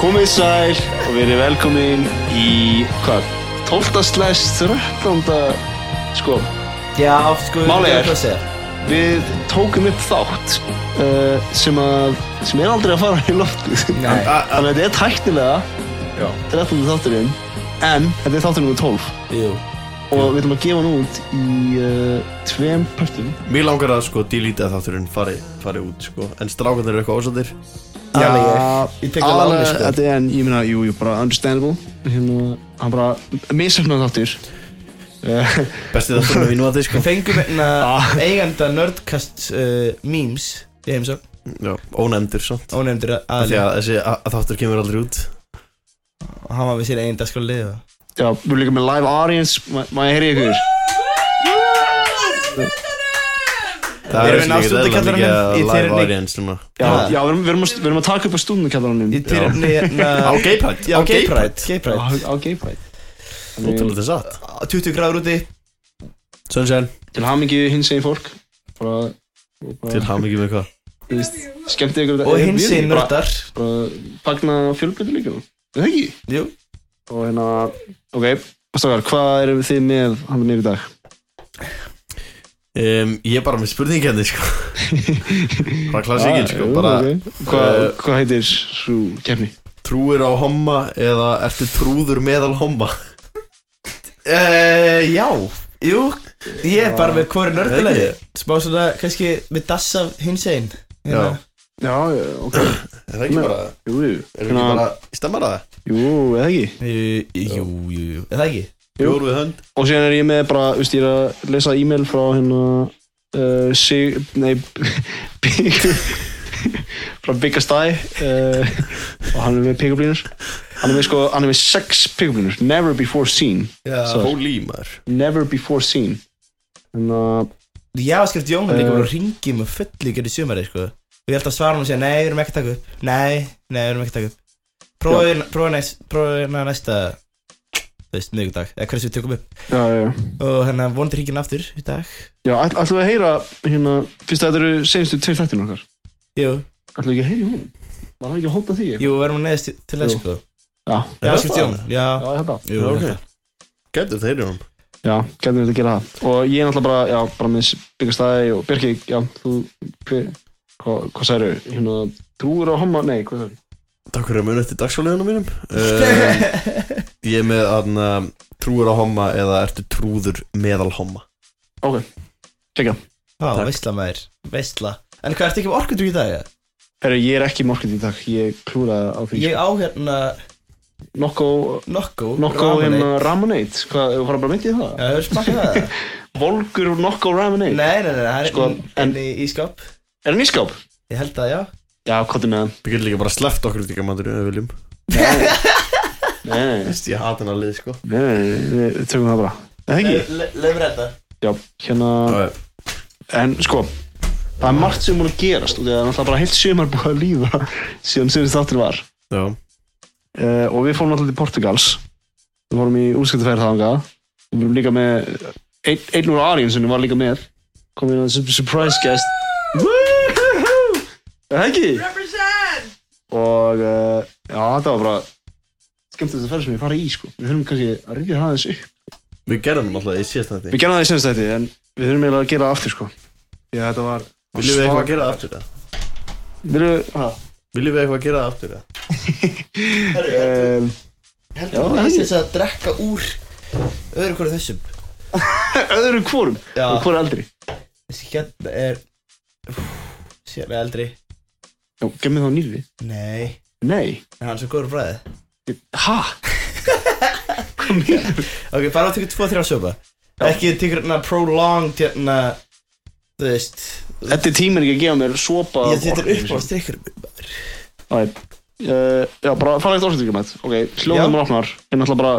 Komið sæl og verið velkomin í, hvað, 12. slæst 13. sko, Já, sko, Málið ég er- veit hvað að segja. við tókum upp þátt uh, sem að, sem er aldrei að fara í loftið. Nei. Þannig að þetta er tæknilega Já. 13. þátturinn, en þetta er þátturinn um 12 Jú. og við ætlum að gefa hann út í uh, tveim pörtum. Mér langar að sko delete að þátturinn fari, fari út sko En strákarnir eru eitthvað ósættir Já, ég, ég tek það alveg, sko. Þetta er en, ég meina, jú, jú, bara understandable, hérna, hann bara misöfnað þáttur. Uh, Besti þátturinn við nú að þið sko Við fengum hérna eiganda nerdcast uh, memes í heimsókn, Já, ónefndur samt ónefndur Af Því aðli að þessi að, að þáttur kemur aldrei út og hann var við sér sko eigin dagskóli liða. Já, við erum líka með live audience, Ma- má ég heyri ykkur? Það Erum er við ekki nástúti ekki kallar mikið hann í live tilefni- audience núna Já, Já. já við, erum, við, erum að, við erum að taka upp á stúdnakjallarunum Í tilhörni hérna... Á gaypad Já, Gay Pride. Gay Á, Pride. á Gay Pride Þannig, Ótrúlega satt 20 gráður úti. Sunshine, Til hamingi hins einn fólk Bara, og til bara hamingi með hvað þú veist, Skemmti ykkur Og Eh, hins við- einn bara- nördar. Bara fagna fjölbyrði líka Það ekki? Jú. Og hérna, ok Stokar, hvað erum þið með hann nýr í dag? um, Ég er bara með spurningi henni sko Bara klassíkin Ah, sko jú, Bara ok. Hvað eh, hvað heitir svo kefni? trúir á homma eða ertu trúður meðal homma Uh, já. Jú, ég er bara með hvori nördulegi. Ekki. Smá svona, kannski með dass af Hérna. hins einn. Já. Já, já, ok Er það ekki Nei. bara, Jú, jú, er það ekki Hérna- bara, stemmar það? jú, eða ekki? Jú, jú, jú, jú. Er það ekki? Jú. Bjór við hönd Og síðan er ég með bara, þú veist, ég er að lesa e-mail frá hérna uh, Sig, nei Big frá Byggastæ uh, og hann er með pickuplínur hann er með sko, hann er með sex pickuplínur Never before seen Já. Svo- Holy maður Never before seen Þannig Já, skrift Jónan líka Eh. bara ringið með fullíkjör í sumari, sko. Og ég ætla að svara hún og segja, nei, við erum ekki að taka upp. Nei, nei, við erum ekki að taka upp. Prófið prófið næst, prófið hérna næsta, þú veist, miðvíkudag, eða hversu við tökum upp. að, já, já, já Og hérna, vonandi ringin aftur í dag. Já, ætl, ætlum við að heyra, hérna, fyrst að þetta eru seinustu tveir þættir okkar Jú, Ætlum við ekki að heyra í honum? Var hann ekki að hóta því? jú, við erum neðist til- til þess, Jú. sko. Já, Já, Er skrift það? Jónan, já. já, þetta Jú, hérna. ok. þetta. Gætu þeir um Já, gætum við þetta að gera það Og ég er náttúrulega bara, já, bara með byggastæði og Birki, já, þú, hver, hvað, hvað særu, hérna, trúur á homma, nei, hvað særu? Takk fyrir að muni eftir dagsfáliðunum mínum uh, Ég er með aðna Trúur á homma eða ertu trúður meðal homma Ok, tjekka Já, Takk. veistla maður, veistla. En hvað, ertu ekki með orkundug í dag, eða? Herru, ég er ekki morgun í dag, ég klúraði á því Ég á hérna Nokko, Nokko, nokko, Ramonade. hérna, Ramonade, hvað, þú fara bara myndið það? Já, hefur smakkað það? Volgur Nokko Ramonade Nei, nei, nei, það er Sko, sko, en- í, í skáp. Er hann í skáp? Ég held að, já. Já, hvað er með hann? Við getum líka bara sleppt okkur út í gamandur Ef við viljum Nei, nei, Vist, Ég hata hennar lið sko nei, nei, nei, við tökum það bara Það er ekki? Leif mér þetta Já, hérna, En sko, það er margt sem múin að gerast og það er náttúrulega bara heilt sumar búið að líða síðan síðan þáttur var Já uh, og við fórum náttúrulega til Portugals við fórum í útskiptaferð þanga við vorum líka með einn ein úr Ariensinu var líka með kom inn að sem surprise guest Woohoo! Er það ekki? og uh, já, þetta var bara skemmt þetta ferð sem ég fara í sko við þurfum kannski að rifja það aðeins upp Við gerðum alltaf í síðast þetta við gerðum það í senast þetta en við þurfum eiginlega að gera það aftur sko já, þetta var Viljum við eitthvað gera það aftur það? Viljum við, hvað? Viljum við eitthvað gera það aftur það? Um, Já, Heldur þú það að er- þess að drekka úr öðru hverju þessum öðrum hvorum Já. og hvor eldri Þessi hérna er Sér er eldri já, gef mér þá nýrri Nei nei, En hann er svo góður bræði ha hvað mýrur Ok, bara að tekja 2-3 sopa Ekki tekja hérna prolonged hérna Þú veist þetta er tíminn ekki að gefa mér sopa Ég þetta er upp á strikkur á Uh, já, bara fara eitt orðsendingamætt ok, Já. hljóðum hann opnar en alltaf bara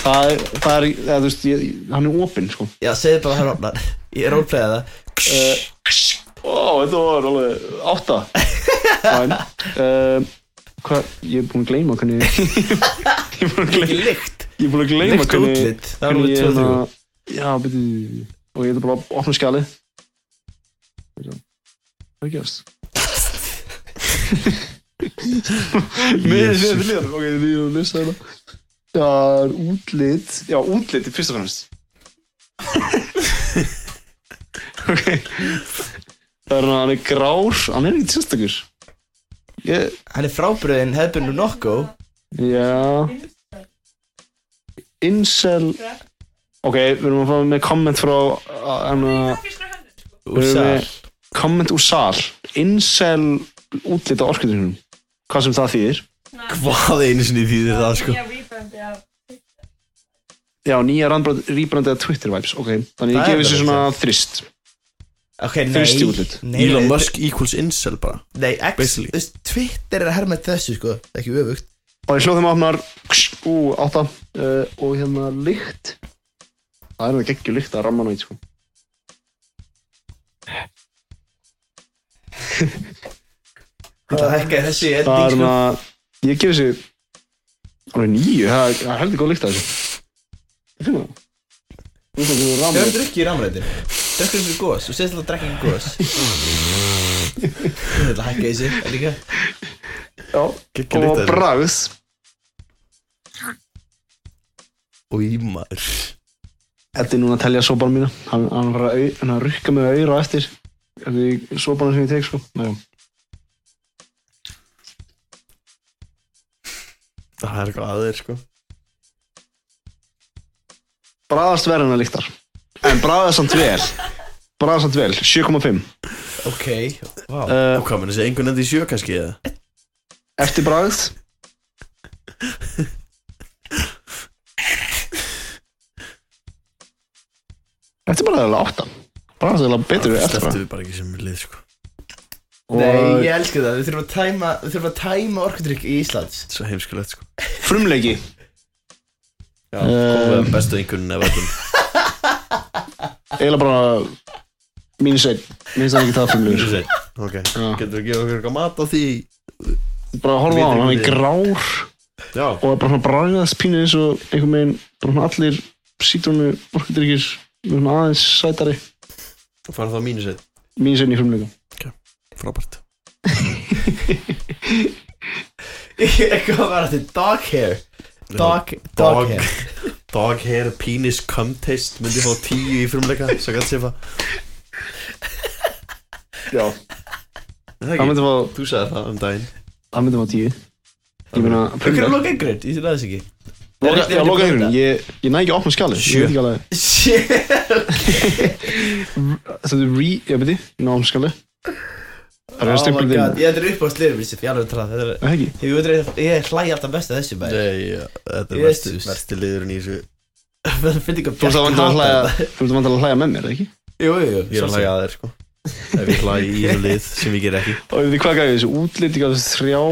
það er, það er, eða, þú veist, ég, hann er opinn sko. Já, segðu bara að hann opnar Ég rólplega það uh, ó, þetta var alveg átta Fæn. uh, hvað, ég er búinn að gleyma hvernig ég er búinn að gleyma Ekki lykt Ég er búin að gleyma Lykt og útlit Það var hvernig númer ég 2 og 3 hérna- Já, beti Og ég ætla bara að opna skjalið Hvað er að gerast? Með Jesus. því að liðan, ok, við erum að lesa þetta Já, útlit Já, útlit er fyrst og fremst Ok Það er hann, hann er grár Hann er ekkert sérstakur Ég, Hann er frábriðin hefðbundu nokko já Incel Ok, við erum að fá með komment frá uh, Hann að úr Við- sal komment úr sal Incel útlita orkundunum Hvað sem það þýðir Hvað einu sinni þýðir það sko Já, rebrand, já. Já, nýja rýbrandið Twitter vibes, ok. Þannig ég Það er gefi þessu alveg svona þrist. Ok, Þrýsti útlit. nei Nei, Elon nei, Musk equals incel bara Nei, X, Basically. þú veist, Twitter er að herma eftir þessu sko Ekki öfugt Og ég hljóð þeim opnar, ú, átta, uh, og hérna lykt. Það er það geggjur lykt að ramma nátt, sko. Þetta hækkaði þessu í Það er ending sko hérna, ég gefi þessu, alveg nýju, það það er heldur góð lykt að þessu. Ég finna það. Þú veist að þú ramma Þau eru nátt. drukkið í ramrættin Dökkur þessu gos og segist alltaf að drekka ekki gos Þetta hækkaði þessu er líka Já, Gekkja og líkt að bragð. Og í maður Þetta er núna að telja sopan mína. Hann hann var að, au- hann var að rukka mig auðra eftir. Þetta er sopanum sem ég tek, sko. Næja. Það er eitthvað aðeir sko Braðast verður en að lyktar En braðast samt vel Braðast samt vel, 7,5 Ok, vá uh, Og hvað menn þessi einhvern endi í sjö kannski eða Eftir braðið Eftir braðið er alveg 8 Braðast er alveg betur við eftir Sleptu braðið við bara ekki sem lið sko Nei, Og ég elska það, við þurfum að tæma, við þurfum að tæma orkudrykk í Íslands Svo heimskulegt sko eh, frumleiki Já, Um, um, bestu einhvern eða verðum Eila bara Mínus 1 Minnst það ekki það frumleikur Ok, getur að gefa okkur eitthvað mat á því Bara horfa á hann, hann er grár Já, Og er bara svona braðast pínu eins og einhvern veginn Bara svona allir sítrónu orkudryggir Svona aðeins sætari fara þá mínus eitt Mínus 1 í frumleika Frábært Eitthvað var að þetta dog hair Dog, dog, Dog. hair Dog hair penis cum taste myndi fá tíu í frumleika Svo gæt séfa Já Það Það ekki, myndi fá, þú sagði það um daginn það myndi fá tíu Ég meina, Hvað er að prumlega loka einhverjum? Ég sé það þess ekki Loka, já, loka Þetta augun, ég, ég næ ekki að opna skjalið Sjö. Ég veit ekki alveg Shit Það er re, ég veit ég, ég ná að opna skjalið Það er að Oh my stempla god, þinn ég þetta er upp á slirum Ég alveg að tala, þetta er Það ekki, Ég veit reyð, ég hlæ alltaf best að þessu bæ Nei, já, þetta er Jesus. versti, versti liðurinn í þessu Það finnst ekki að þú ert að vantala að hlæja Þú ert að vantala að hlæja með mér, ekki? Jú, jú, jú, Ég er að hlæga að þér sko Ef ég hlægi í þessu lið sem ég ger ekki Og við hvað gæði þessu, útlit, ég gaf þessu þrjá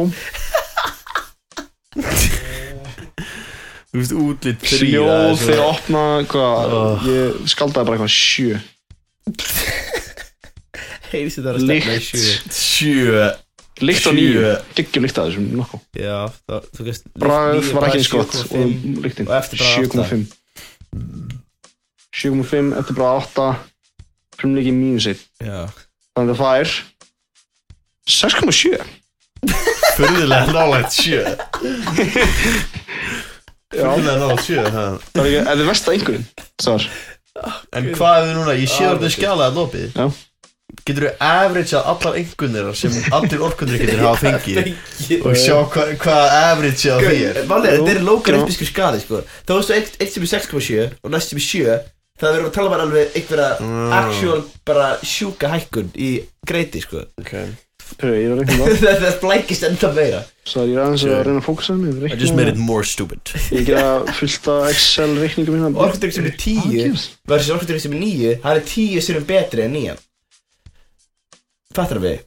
Þú veist útlit Hljóð, þegar opna, hvað Oh. Ég skaldaði bara eitthvað sjö Heyrðu þetta að stefna í Lykt. sjö Sjö Líkt á Sjö. nýju, geggjum líkt að þessum nokkuð Já, það, þú veist Bragð níu, var bragð ekki eins gott 7,5. og lyktin og eftir bragð 7,5 7,5 eftir bara 8 frumleiki mínus 1 Já þannig að það er 6,7 Furðilega nálægt sjö Já, Furðilega nálægt sjö ha. það er ekki, eða versta einhverjum Svar, En hvað er þið núna? Ég sé orðið skjala að lopið Já. Getur þú averageað allar einhvernir sem allir orkundrykkinir hafa fengið og sjá hvað hva average á því er Málega, þetta er lókar Já. uppisku skadi, sko Það var svo eitt, eitt sem er 6,7 og næst sem er 7 Það verður að tala bara alveg einhverja Mm. actual bara sjúka hækkun í greiti, sko okay. Heyrðu, ég er að reyna það Það blækist enda meira Svar, ég er aðeins að Sjö. reyna að fókusa mig Ég I er just ekki made að- it more stupid ég gera fullt af Excel reikningum mína Orkundrykk sem er 10 gerist? versus orkundrykk sem er 9 Það er 10 sem er betri en 9 Fattar við?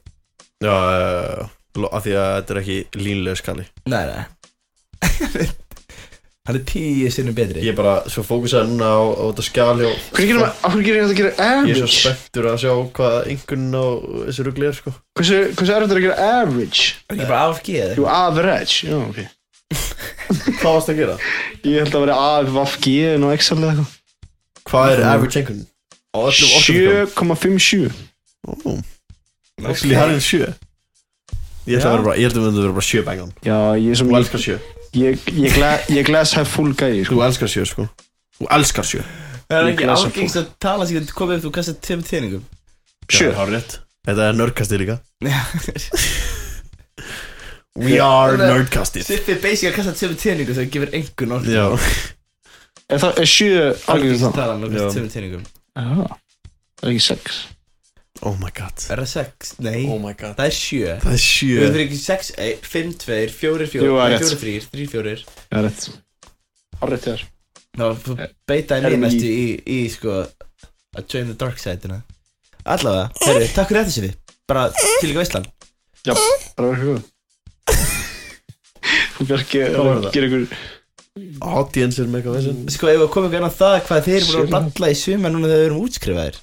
Já, eh, af því að þetta er ekki línlega skali Nei, nei Hann er 10 sinnum betri Ég er bara svo fókusaði núna á, á þetta skali og Hvernig gerum við, af hverju gerir ég þetta að gera Ég er svo average? spenntur að sjá hvað einhvern á þessu rugli er sko Hversu, hversu er þetta að gera average? Er ekki bara AFG eða? Jú, average, já, ok Hvað varst að gera? Ég held að vera AFG en á Excel eða eitthvað Hvað er average einhvern? Mm. Á öllum sko. orkundrykkum 7,57 Ó, actually það er en sjö Ég ætla að Já. vera bara, ég ætla að vera bara sjö bengan Já, ég er Þú svona elskar sjö Ég, ég, gla, ég glas hef full gæði sko. Þú elskar sjö, sko Þú elskar sjö Það er Ég ekki glasa ágengst að tala síðan komið upp þú kastar tveim teiningum Sjö. Já, hárrétt. Þetta er nördkasti líka Siffi We are nördkastið er basic að kasta tveim teiningum sem gefur einhvern orð Já Er það er sjö algjörðum Ágengst það? að tala og Já. kastar tveim teiningum Já, það er ekki sex Oh my god Er það sex? Nei my god Það er sjö Það er sjö Oh Við fyrir ekki sex, ei, fimm, tveir, fjórir, Jú, fjórir það er Nei, rétt. fjórir, þrýr, þrýr, fjórir Já, rétt Hárrétt þér Ná, þú beitaði Erum mér í- næstu í, í, sko Að join the dark side-una Allavega, herru, takk fyrir þetta Siffi Bara til líka veistlan Já, bara verður góð Þú Bjarki Hvað var það? gerir ykkur Audience er mega þessin Sko, ef við komum ekki annað það hvað þeir eru búin að Sjö. blalla í suma núna þegar við erum útskrifaðir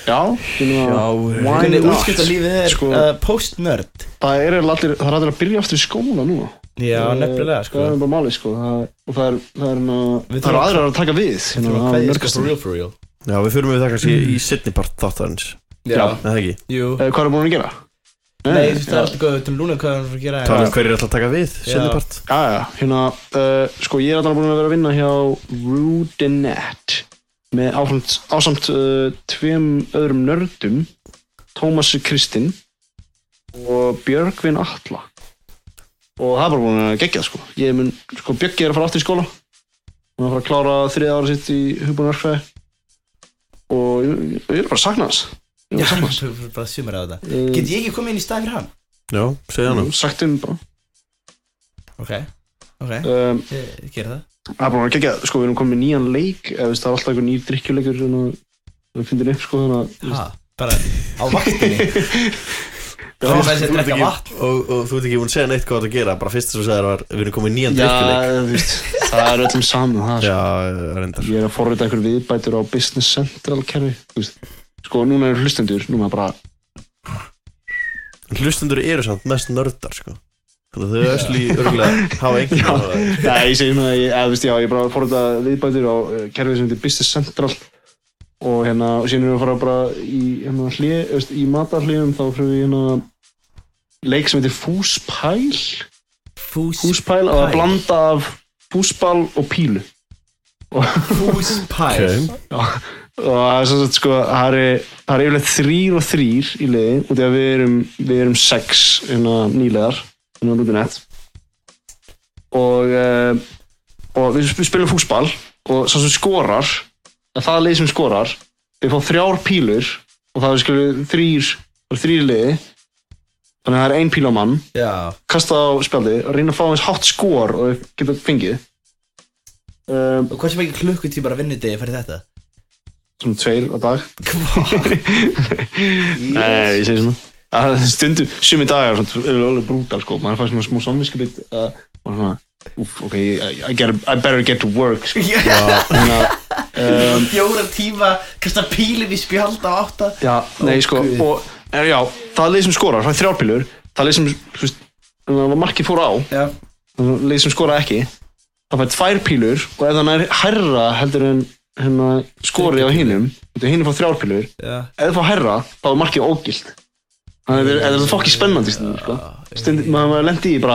Já, finnum að Why Hvernig not? útskrift lífið er Sko- uh, post-nerd Það er eiginlega allir, það er allir að byrja aftur í skóla núna Já, Það er- nefnilega, sko Það er bara málið sko það, Og það er, það er, hérna- það Við er, það er þurfum- aðrir að taka við Þú hérna, var af kveðið, sko, nördkastinu. for real, for real Já, við fyrir með það kannski í setni part þáttarins Já. Nei, það ekki jú Eh, Hvað er búin að gera? Nei, þú veist, það er já. alltaf góð, við veitum núna hvað hann er að gera en- Tala um hverjir ætla að taka við Setni Já. part Já, já, hérna, uh, sko ég er alltaf búin að vera að vinna hjá Rudinet með ásamt, ásamt uh, tveim öðrum nördum Tómasi Kristinn og Björgvin Atla og það er bara búin að gegja sko, ég mun, sko Björgi er að fara aftur í skóla hún er að fara að klára þriða ára sitt í hugbúinarfæði og ég, ég, ég er bara að sakna hans ég er bara Já, að sakna hans þú- þú- bara sumar á þetta Eh, Get ég ekki komið inn í stað fyrir hann? Já, segja hann sagt um bara Ok, ok, um, ég gera það Það er bara að gegja, sko, við erum komin með nýjan leik eða veist, það er alltaf einhver nýr drikkjuleikur sem að- við finnum upp, sko, þannig að Ha, bara á vaktinni Já, Það er þessi að Þú ert drekka ekki- vatn og, og þú ert ekki búin að segja neitt hvað þetta gera Bara fyrst sem þú segir var Við erum komið nýjan drikkjuleik þú veist, það er öllum saman það, sko. Já, reyndar Ég er að forrita einhver viðbætur á Business Central kerfi, þú veist Sko, núna eru hlustendur, núna bara Hlustendur eru samt mest nördar sko Þannig að þau ösli örgulega hafa einhvern Já. veginn á það. Já, ég segi svona, að ég, eða, þú veist, já, ég er bara að forrita viðbætur á eh, kerfi sem heitir Business Central og hérna, og síðan erum við að fara bara í, hérna, hlið, þú veist, í matarhliðum þá fyrir við, hérna, leik sem heitir Fúspæl Fús, húspæl og að Pæl. blanda af húsbál og pílu fúspæl og það er svo að sko það er- það er yfirleitt þrýr og þrýr í liði og því að við erum, við erum sex hérna nýlegar hérna rútinett og eh, og við sp- spilum fúsbál og svo sem skorar að það lið sem skorar við fá þrjár pílur og það er sko þrýr það er þrýr í liði þannig að það er ein píl á mann Já, kasta á spjaldið og reyna að fá eins hátt skor og þau geta fengið um, og hversu mikið klukkutímar að vinnudegi fyrir þetta? svona tveir á dag Hvað? Nei, ég segi svona að stundum, sumi dagar svona, eru alveg brútal sko, maður fær svona smú samvinskapið að maður svona Úf, ok, I, I, gotta, I better get to work sko. Þannig að, um, Fjóra tíma, kasta pílum í spjald á átta Já, nei Ó, sko guð. og, er, já, það lið sem skorar, það er þrjárpilur það lið sem, þú veist þannig að markið fór á, Já, þannig að lið sem skorar ekki það fær tvær pílur og ef það er hærra heldur en hérna, skorið á hinum þetta hinum fá þrjárpilur já ef það fá herra, þá er markið ógilt þannig að það er fokki spennandi stundum, sko. Stund, maður maður lendi í bara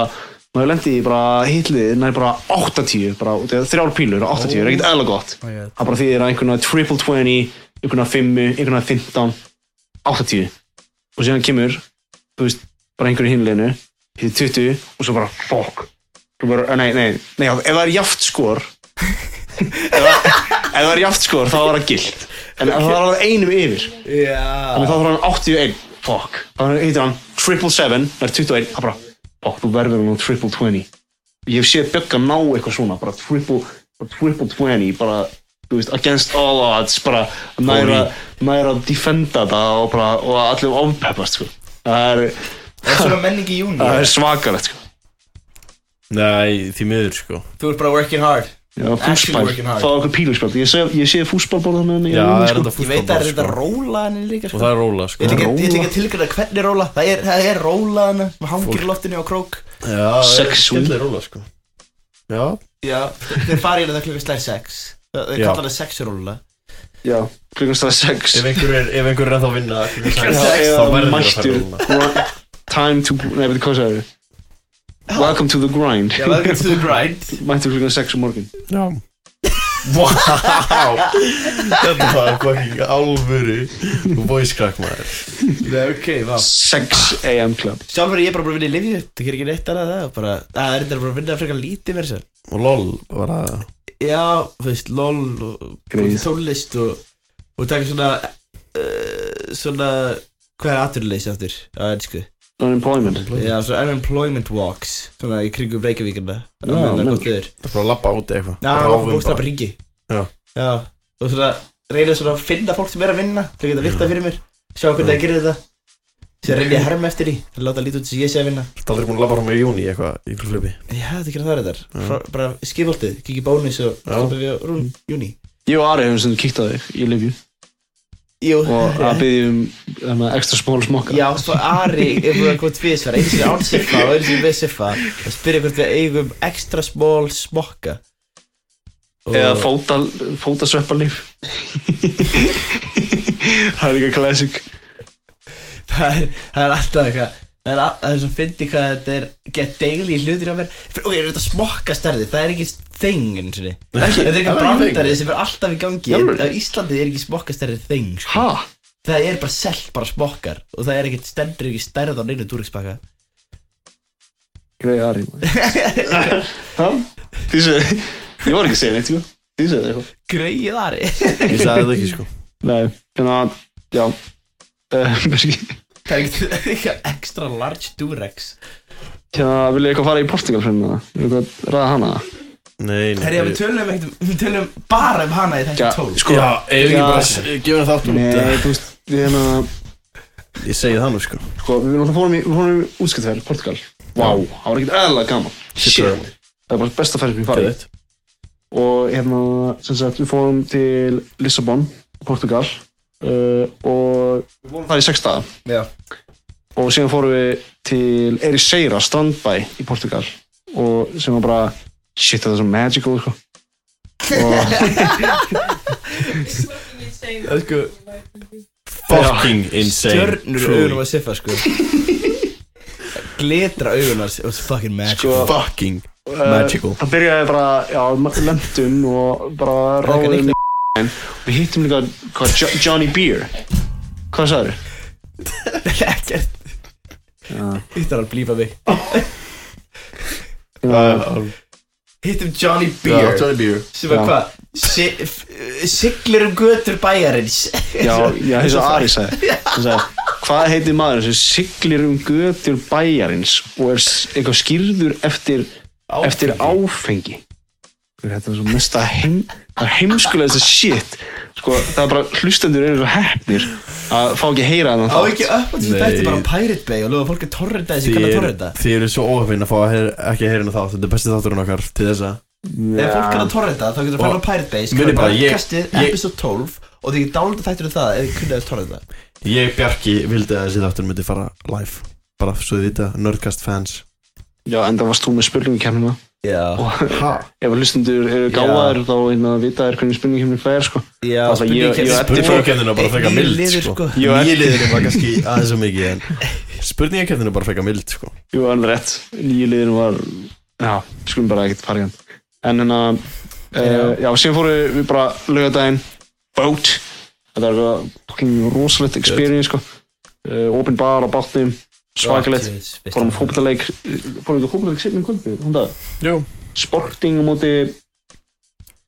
maður lendi í bara hitlið nær bara 80, bara, út af þrjár pílur og 80, er ekkert eðla gott Oh my god. það er bara því að einhverna triple 20 einhverna 5, einhverna 15 80 og síðan kemur, þú veist, bara einhverju hinleginu hittir 20 og svo bara fokk, þú bara, nei, nei, nei ef það er jaft skor ef það- ef það er jaft skor þá er það gilt en ef það er alveg einum yfir Já Þannig að þá þarf hann 81 Fuck Þannig hittir hann triple 7 Það er 21 Það bara Fuck, þú verður hann triple 20 Ég hef séð Bjögga ná eitthvað svona Bara triple bara Triple 20 Bara Þú veist, against all odds Bara næra Næra að defenda það Og bara Og að allir ofpeppast sko Það er Það er svona menning í júni Það er svakalegt sko Nei, því miður sko Þú ert bara working hard Já, Actually fúsball working hard. Fá okkur píluspjald Ég sé, ég sé fúsballborðan með henni Já, það er sko. þetta Ég veit að það er þetta fútbolball sko róla hann líka Og sko það er róla Ég sko ætla ekki- ég ætla Róla. ekki að tilgjöra hvernig róla Það er, það er róla hann Maður hangir í loftinu á krók Já, Sexual. skemmtileg róla sko Já, Já Þeir fara í þetta klukka slær sex Þeir Já. kalla það sexróla Já, klukkan stað 6 ef einhver er, ef einhver er ennþá að vinna klukkan Já, sex, eða Þá verður þetta að fara mættur róla run- Time to, nei, betur hvað sagði Welcome to the grind Já, welcome to the grind Mættu klukkan 6 um morgun Já Wow Þetta var fucking alvöru Voice crack maður Nei, ok, vá 6 am club Sjálfur er ég bara búin að vinna í lifju Það gerir ekki neitt annað en það bara, að, Það er þetta bara að vinna frekar lítið mér sér Og lol var það Já, þú veist, lol og Greyið. búin tónlist og, og taka svona uh, Svona Hvað er aturleysi aftur? Á ennsku Unemployment Já, svona unemployment walks Svona í kringum Reykjavíkina Já, Það er menn. gott öður Það fór að labba úti eitthvað Já, Bara það var áfum bókstaf bara. ringi Já. Já, og svona reyna svona að finna fólk sem er að vinna til að geta virta fyrir mér Sjá hvernig það gerir þetta Sér reyna ég að herma eftir því til að láta lítið út sem ég sé að vinna Það er aldrei búin að labba fram í júni eitthvað Í flipi Já, þetta gerir það reyndar Frá- Bara skifaldið, kikið bónus og Já. stoppa við á rún, júni Ég og Ari hefum sem kíkt á þig í Livju Jú, og að byggja um þarna, extra smól smokka Já, svo Ari er búin að koma tvísvara einu sinni án siffa og einu sinni með siffa og spyrja hvort við eigum extra small smokka Og- eða fóta, fótasveppalíf Það er líka classic það er, það er alltaf eitthvað Það er, a- það er svo fyndi hvað þetta er gett degli hlutir á mér Fyrir, Ok, er þetta smokka stærði, það er ekki þing eins og Þetta er það eitthvað er ekki brandarið sem er alltaf í gangi Alveg? Á Íslandi er ekki smokka stærði þing sko. Ha? Það er bara selt bara smokkar Og það er ekkert stendur ekki stærð á neinu túriksbaka Greið Ari maður. Ha? Því sem Ég var ekki að segja neitt, jú Því sem eitthvað Greið Ari Ég sagði þetta ekki sko Nei, þannig að, já Eh, kannski- Það er ekkert- það er eitthvað extra large durex Hérna, vil ég eitthvað fara í Portugal fyrir hana? Vil ég eitthvað ræða hana? Nei, nei Herri, við tölum, ekkert- við tölum bara um hana í þetta Já, tól Sko Já, eigum ekki Já. bara að gefa það þáttum Nei, þú veist, við hérna Ég segi það nú sko Sko, við náttúrulega fórum í, við fórum í útskiptferð, Portugal Vá, það var ekkert eðla gaman Shit Það var bara besta ferð sem ég farið Geðveikt. og hérna, sem sagt, við fórum til Lissabon, Portugal uh, og við vorum þar í sex daga Já. og síðan fórum við til Ericeira, strandbæ í Portugal og sem var bara shit, þetta er svo magical sko. og Það er sko Fucking insane Stjörnur Truly. augunum að siffa sko Glitra augunum að siffa Fucking magic Sko- Fucking eh, Magical. það byrjaði bara, já, lendum og bara Rækka ráðum nýtt- við hittum líka, hvað, Jo- Johnny Beer hvað sagður? Ekkert Þetta er að blífa mig Uh, um. Hittum Johnny Já, Beer Johnny Beer Sem var Já. hvað Si- f- Siglir um götur bæjarins Já, já, þess að Ari sagði, Hann sagði Hvað heitir maður sem siglir um götur bæjarins og er s- eitthvað skýrður eftir, eftir áfengi Hver, Þetta er svo mesta heim, það er heimskulegasta shit sko, það er bara hlustendur eru svo heppnir að fá ekki að heyra hann Á ekki upp að þessu Nei. þetta bara á Pirate Bay og lofa fólk að torrenta þessi kann að torrenta Þið eru svo óhefinn að fá að heyr, ekki að heyra henni þá Þetta er bestið þátturinn okkar til þess að Ef fólk kann að torrenta þá getur það fara á Pirate Bay Muni Skrifa bara, ég- podcastið ég- episode 12 og þið getur dálítið þættur um það ef þið kunnaðist torrenta Ég, Bjarki, vildi að þessi þátturinn myndi fara live Bara svo þið vita, Nerdcast fans Já, en það varst þú með spurningkemnina Já Ha? Ef hlustendur eru gáðar þá hérna, vita þær hvernig spurningkemnin fær sko. Já, Alltaf, ég- spurningin- ég- Spurningakefninu er bara frekar Nýr mild liður, sko. sko. Jú, er- Nýliðinu var kannski aðeins og mikið en Spurningakefninu er bara frekar mild sko. Jú, alveg rétt Nýju liðinu var Já, skulum bara ekkert fara í hann En hérna uh, Já, síðan fórum við bara lögadaginn Boat Þetta er eitthvað fucking rosalegt experience sko. uh, Open bar á bátnum Svakalegt Fórum Fórum fókbaltaleik Fórum við fókbaltaleik seinna um kvöldi Hún dag Jú Sporting á móti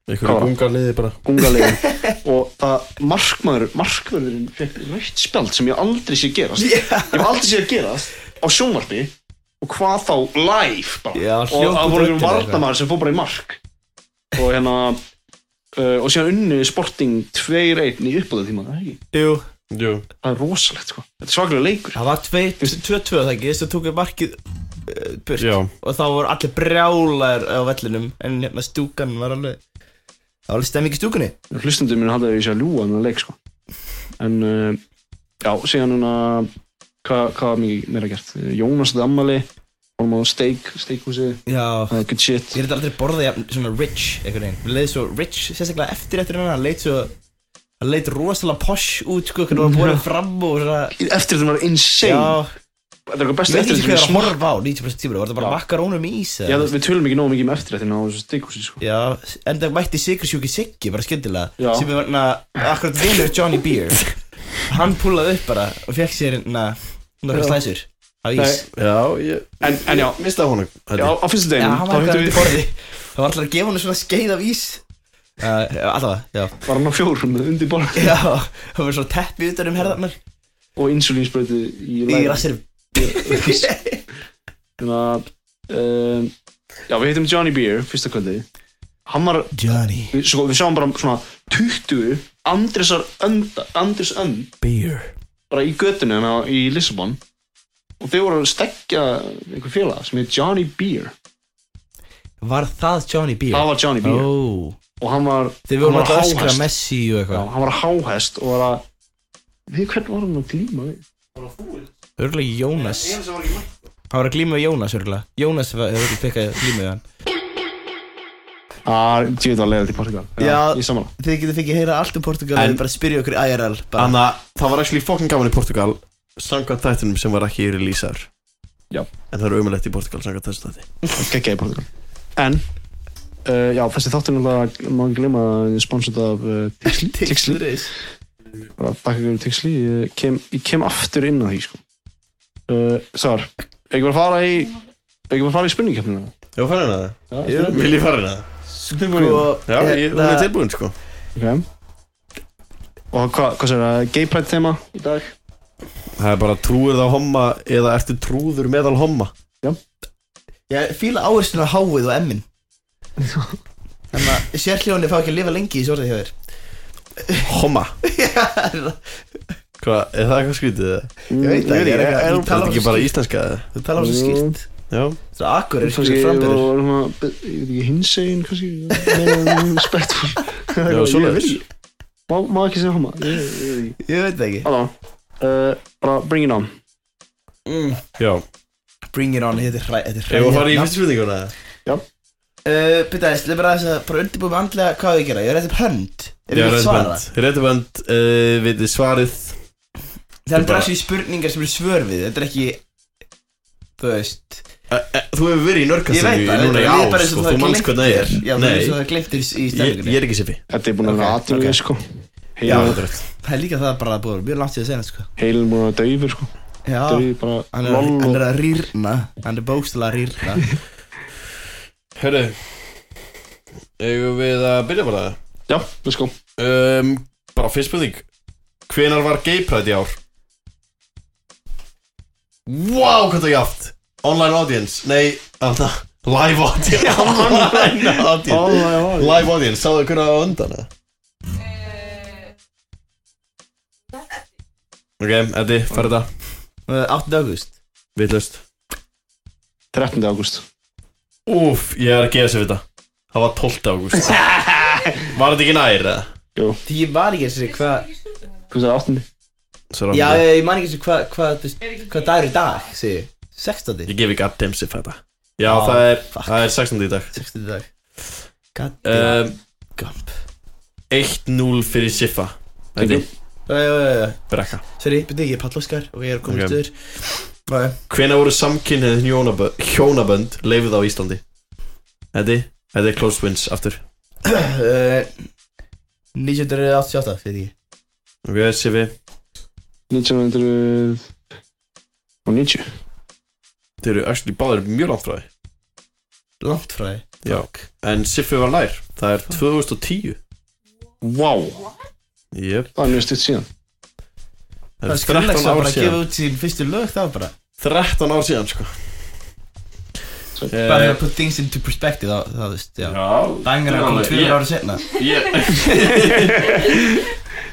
Einhverju bungarliði bara gungalegin Og það markmaður Markmaðurinn fekk rætt spjald sem ég aldrei sé gerast Ég hef aldrei séð að gerast á sjónvarpi og hvað þá live bara Já, og það hljóp voru út röddina einhverjum varnamæður sem fór bara í mark og hérna uh, og síðan unnu Sporting 2-1 í uppbúðu tíma, það er ekki Jú, Jú það er rosalegt sko, þetta er svaklega leikur það var 2-2 það ekki, þess að tókum markið uh, burt Já og þá voru allir brjálar á vellinum en hérna stúkan var alveg það var alveg stemming í stúkunni hlustundum minn haldaði að ég sé að ljúa en að leik sko en uh, já, síðan núna hvað hva var mikið meira gert Jónas þetta ammali, fórum á steik steikhúsi, Já, það er good shit ég er aldrei borðað jafn, svona rich einhvern veginn, við leiði svo rich sérstaklega eftir eftir hennar, hann leit svo hann leit rosalega posh út sko, hvernig hann var borðið fram og svona eftir þetta var insane Já, Þetta er eitthvað Ég besta veit ekki eftirréttur hvað sem ég er að ég smakka. horfa á 90% tíma Var það bara Já. makarónum í ís Já, eða? það- við tölum ekki nógu mikið um eftirréttina á þessu stikkhúsi, sko. Já, en það mætti Sigursjúki Siggi bara skjöndilega Já. sem er hérna akkurat vinur Johnny Beer Hann púlaði upp bara og fekk sér hérna Já. nokkra slæsur á ís Nei, Já, ég, En- en já. ég misti af honum held Já, ég. á fyrstu Já, deginum, hann þá var hittum eitthvað undir við, borði Það var alltaf að gefa henni svona skeið af ís uh, Allavega, já var hann á fjórum undir borð Já, það var svona teppi utan um herðarnar og insulinspröyti í Í læri. rassirum Þannig að, um, já, við hittum Johnny Beer fyrsta kvöldi. Hann var, Johnny við, sko, við sjáum bara svona 20 Andrisar önd, Andris önd, Beer bara í götunni hann á, í Lissabon. Og þau voru að stekja einhver félag sem heit Johnny Beer. Var það Johnny Beer? Það var Johnny Beer. Ó, Og hann var, Þeir hann voru var alltaf að öskra sko. háhest. Messi og Já, eitthvað hann var að háhest og var að Við hvernig var hann að glíma við? Örgulega Jónas Hann var að glíma við Jónas örgulega Jónas var örgulega fekk að glíma við hann Ah, Það er djúið að leiða til Portugal Já. Ég sammála Þið getur fengið að heyra allt um Portugal En- En bara spyrja okkur í IRL bara. Þannig að það var actually fokkin gaman í Portugal Samkvæmt þættunum sem var ekki releaser Já. En það er umulegt í Portugal samkvæmt þessu þætti Gekkjaði Portugal En uh, Já, þessi þáttur náttúrulega Má ekki gleyma að ég er sponsort af uh, Tixli Tixli Tixlis. Bara þakka ykkur fyrir Tixli ég kem, ég kem aftur inn á því sko uh, Svar Ekki bara fara í Ekki bara fara í spurningkeppnina Já, farin að Já, það Vil ég farin að það? Sko, Já, ég, hún er hérna- tilbúin sko Ok Og hvað, hvað sér það? Gay pride tema í dag Það er bara trúir það homma eða ertu trúður meðal homma Ég fíla áhersluna á háið og emmin Þannig að sérhljóðinni fá ekki að lifa lengi í svortið hjá þér Homma Hvað, er það eitthvað skrítið það? Ég veit það, ég Ég er er eitthvað- þú það talar ekki svo bara skýrt. íslenska eða? Þú talar um svo skýrt Já Þú er akkur, er kannski ekki framburður og svona, ég veit ekki, hinsegin kannski, með spektrum Já, svoleiðis. má, má ekki segja hama ég ég veit ekki Ég veit það ekki alveg, uh, bara bring it on Já, Bring it on, þetta er hræ- þetta er ef hræðilegt Mm. við farin í nafn. fyrstu spurninguna Uh, Pita, ég leif bara aðeins að bara undirbúið með andlega hvað við gera Ég er rétt upp hönd Ef ég vil svara Réttabönd, uh, við þið svarið Það er bara- drasli spurningar sem eru svör við Þetta er ekki Þú veist Eh, eh, Þú hefur verið í Ég veit nörgastinu það núna í þetta- líður ár bara eins og sko, það þú manns gleymt hvað það er þér. Já, það er eins og Nei, það glimtir í ég, ég stefningunni er ekki siffi þetta er búin að Ok, vera aðtölu ok. sko Já, heilin, þetta er rétt Það er líka það bara að búið Mjög langt sér að segja sko heilin búin að dauður sko Já dauður bara, Hann er, loll hann og er að rýrna Hann er bókstala að rýrna Hörru Eigum við að byrja bara já, let's go um, Bara fyrst spurning Hvenar var Gay Pride í ár? Vá, hvað það er jaft Online audience, nei, anna, live audience Online audience oh, Live audience, sáðu hvernig það var á undan eða? Ok, Eddi, fara þetta 8. august Vitlust 13. ágúst Úf, ég er að gefa sér við þetta Það var 12. ágúst Var þetta ekki nær eða? Því ég man ekki eins og þessi hvað þú veist það 8. Svo Já, rámið. ég ég man ekki eins og hvað Hvað þú veist, hvað dagur er í dag Segir ég. 16. Ég gef ekki að demsi þetta Já, Ah, það, er, fuck. það er 16. í dag 16. dag God damn um, Gump 1-0 fyrir Siffa Þetta er Já, já, já, já brekka Sorry, byrju, ég er Pall Óskar og ég er komin Ok. okay. stöður Nei, Hvenær voru samkynnið hjónabönd, hjónabönd leifið á Íslandi? Eddi, þetta er close wins aftur uh, 1988, veit ég Ok, Siffi, 1900 og 90 þeir eru actually báðir mjög langt frá því Langt frá því Já En Siffi var nær, það er 2010 wow, Jep, það er mjög stutt síðan Það það er er 13 skrýmlegs að ár bara síðan gefa út sín fyrstu lög það bara 13 ár síðan, sko Svo- Eh, Bara að put things into perspective á það, þú veist, já Já, Bangar að koma alveg- ég- tveir ára setna Ég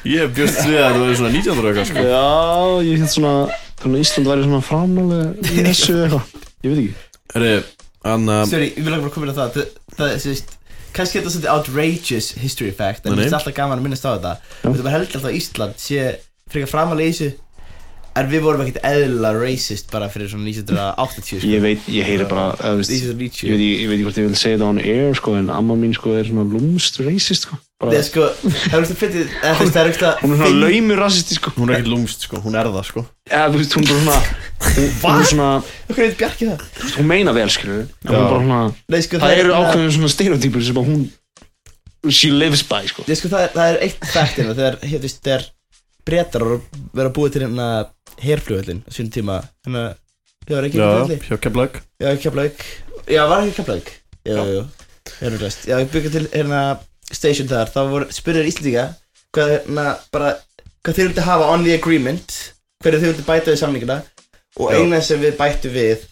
Ég bjóst við að það verður svona 19 ára eitthvað sko já, ég hitt svona þannig að Ísland væri svona framalega í þessu eða eitthvað, ég veit ekki Herri, uh, Anna Sorry, ég vil ekki bara koma inn á það Það, það, þú veist Kannski er þetta svolítið outrageous history fact En Nei, mér nei. finnst alltaf gaman að minnast á þetta Þetta var heldur alltaf að Ísland sé frekar framalega í þessu En við vorum ekkert eðla racist bara fyrir svona 1980 sko. ég veit, ég heyri bara, eða, veist, ég, 1990 veit, ekki- ég veit ekki hvort ég vil segja þetta on air sko, en amma mín sko, er svona lúmst racist sko. Það bara, er sko, það er ekki fyndið, eða þú veist, það er ekki hún er svona laumur racist sko. Hún er ekkert lúmst sko, hún er það sko eða, þú veist, hún er bara svona hún, hún er svona, Okkur veit Bjarki það? hún meina vel skilur en hún Já. er bara svona, Nei, sko, það eru hérna- ákveðin svona stereotypur sem að hún she lives by sko Ég sko, það er, það er eitt fact hérna, þegar, hér, þú veist, þegar breytar voru verið að búa til hérna herflugvöllin á sínum tíma, hérna, það var ekki Já, herflugvölli? hjá Keflag Já, Keflavík. Já, var ekki Keflavík? Jú, jú, hérna rest. Já, ég byggja til hérna station þar, þá voru, spurðir Íslendinga hvað hérna, bara, hvað þeir vildi hafa on the agreement, hverju þeir vildi bæta við samningina og Já. eina sem við bættu við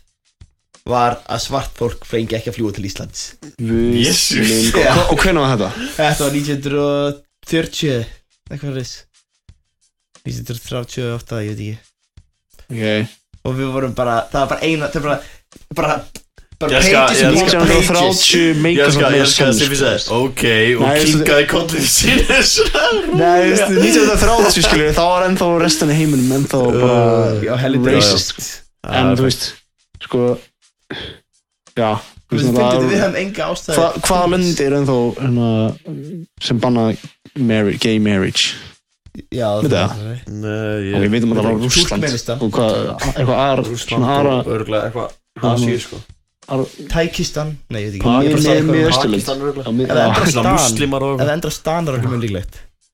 var að svart fólk fengi ekki að fljúa til Íslands. Við- Jesús. minn- Já. og, og hvernig var þetta? Þetta var 1940 eitthvað reys 1938, ég veit ekki Okay. og við vorum bara, það var bara eina það var bara, bara, bara Ég skal- pages ég and skal- pages. 1930 Ég meika skal, svona ég skal sem við sens, sagði sko. Ok, og Nei, veistu- kinkaði kollið sínu svona. Nei, þú veist, 1930 skilur þá var ennþá restan í heiminum ennþá Já, bara helviti Uh, racist en þú veist sko já þú Við veist, það finnum er- við hefum enga ástæði Hva, hvaða lönd er ennþá hérna, sem banna marri, gay marriage? Já, Veit það? er Nei, Yeah. Ok, við veitum að það var Túrkmenistan. Rússland og hvað, eitthvað aðra, svona aðra Örgulega eitthvað Asíu, sko Tækistan, nei, ég veit ekki Pakistan, Ég er bara að segja Mið- eitthvað. Austurlönd. Pakistan Já, örgulega mið- Eða já, bara Svona stan. muslimar og Ef það endra stan er okkur mjög líklegt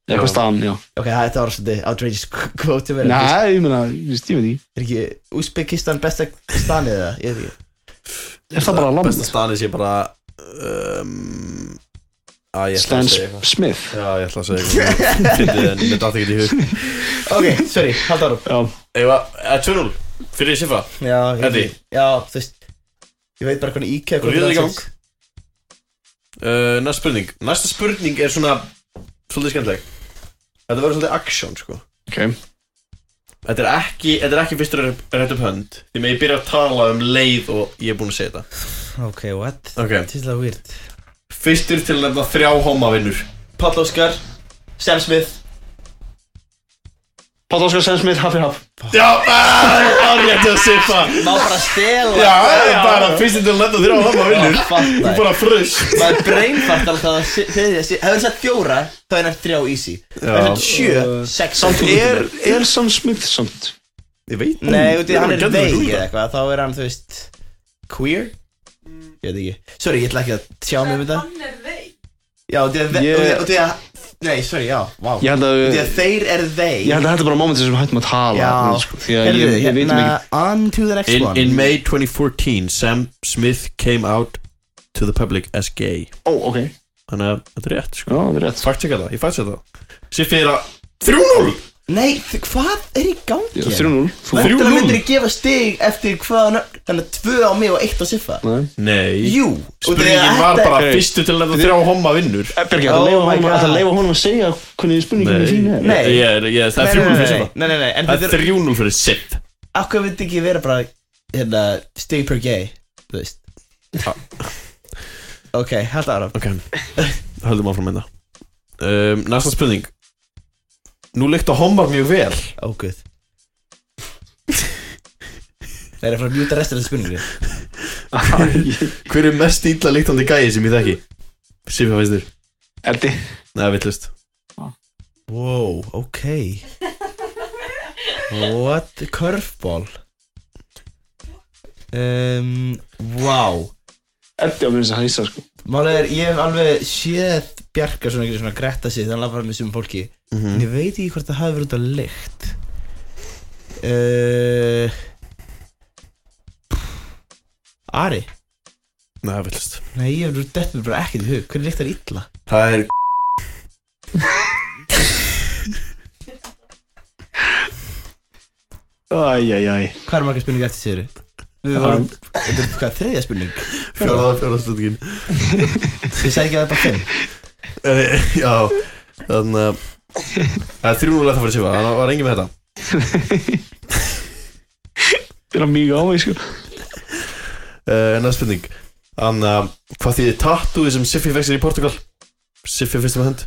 eitthvað staðan, já Ok, það- þetta var svolítið outrageous kvóti verið Nei, ég meina, ég veist, ég veit ekki Er ekki Uzbekistan besta stanið eða? Ég veit ekki Er það bara land? Besta stanið sé bara um, Æ, ég ætla Stan að S- segja eitthvað Smith Já, ég ætla að segja eitthvað Fyndið, en Mér dætti ekki í hug Ok, sorry, halda árum Já, Eða, eða 2-0 Fyrir Sifa Já, ég Eddi. Já, þú veist Ég veit bara hvernig IKEA Þú ríður í gang. uh, Næsta spurning Næsta spurning er svona Svolítið skemmtileg Þetta verður svolítið action, sko ok Þetta er ekki, þetta er ekki fyrstur að rétt upp hönd Því með ég byrja að tala um leið og ég er búinn að segja þetta Ok, what? Ok Þetta er það weird Fyrstur til að nefna þrjá homavinnur Páll Óskar Sam Smith Pátt Óskar Stan Smith, hafi haf Já, það er rétt að Sifa Má bara stela Já, það er bara fyrstur til að nefna þrjá homavinnur Þú Fattar bara frust Maður breynfart alltaf að se- segja þessi Hefur sagt fjóra Þá er hann þrjá easy Hefur sagt sjö Sex Samt er, er Sam Smith samt Ég veit Nei, þú veit, hann er Gerður veik þú eða það? eitthvað Þá er hann, þú veist Queer? Ég veit ekki Sorry, ég ætla ekki að tjá mig um þetta Hann er veik. Já, þú veit, Ég- þú veit Nei, sorry, já, vá Ég held að, Því ég að þeir er þeir held að þetta er bara mómentið sem við hættum að tala Já. sko, Því að ég, ég veit hérna, ekki On to the next um In, one in May 2014, Sam Smith came out to the public as gay Ó, ok, já, Þannig að þetta er rétt sko það er rétt Fakt ekki það, ég fætti þetta Sér fyrir að 3-0 Nei, þ- hvað er í gangi? 3-0, þú Þrjú- Þetta 3-0. myndir gefa stig eftir hvað nöfn Þannig að tvö á mig og eitt á Siffa Nei Nei Jú og Spurningin þegar var þetta- bara Hey. fyrstu til að þrjá homma vinnur Bergi, Oh ætla my Eh, að God. leifa honum, honum að segja hvernig spurningin er þín er Nei. Ég er, ég er, það er Nei, nei, 3-0 fyrir nei, Sifa Nei, nei, nei, en Það þetta er er 3-0 fyrir Sif Akkur myndi ekki vera bara Hérna, stig per gay Þú veist Já. Ok, hælt ára Ok, höldum áfram með það um, Næsta spurning Nú líkta hommar mjög vel Ó, guð Nei, Það er að fara að mjúta restur af spurningu Hver er mest illa líktandi gæi sem ég þekki? Sifa veist þér Eddi Nei, villust Wow, ok What the curveball um, Wow Eddi á mér sem hæsa sko Málið er, ég hef alveg séð Bjarka svona einhverju svona gretta sig þannig að fara með sumum fólki En ég veit ekki hvort það hafi verið út að lykt uh, Ari Nei, villust Nei, ég hefur dettur bara ekkert í hug Hvernig lyktar illa? Það er Æjæjæj Hvað er margar spurningar eftir séru? Við vorum, þetta er hvað, þriðja spurning? fjóraða fjóraða stundin Ég sagði ekki að það er bara fimm Eh, Já Þannig að Það er 3-0 eftir fyrir Sifa Þannig að var engin með þetta Það er mjög á mig sko uh, Næsta spurning Þannig að Hvað þýðir tattúi sem Siffi vexir í Portugal? Siffi fyrst með hönd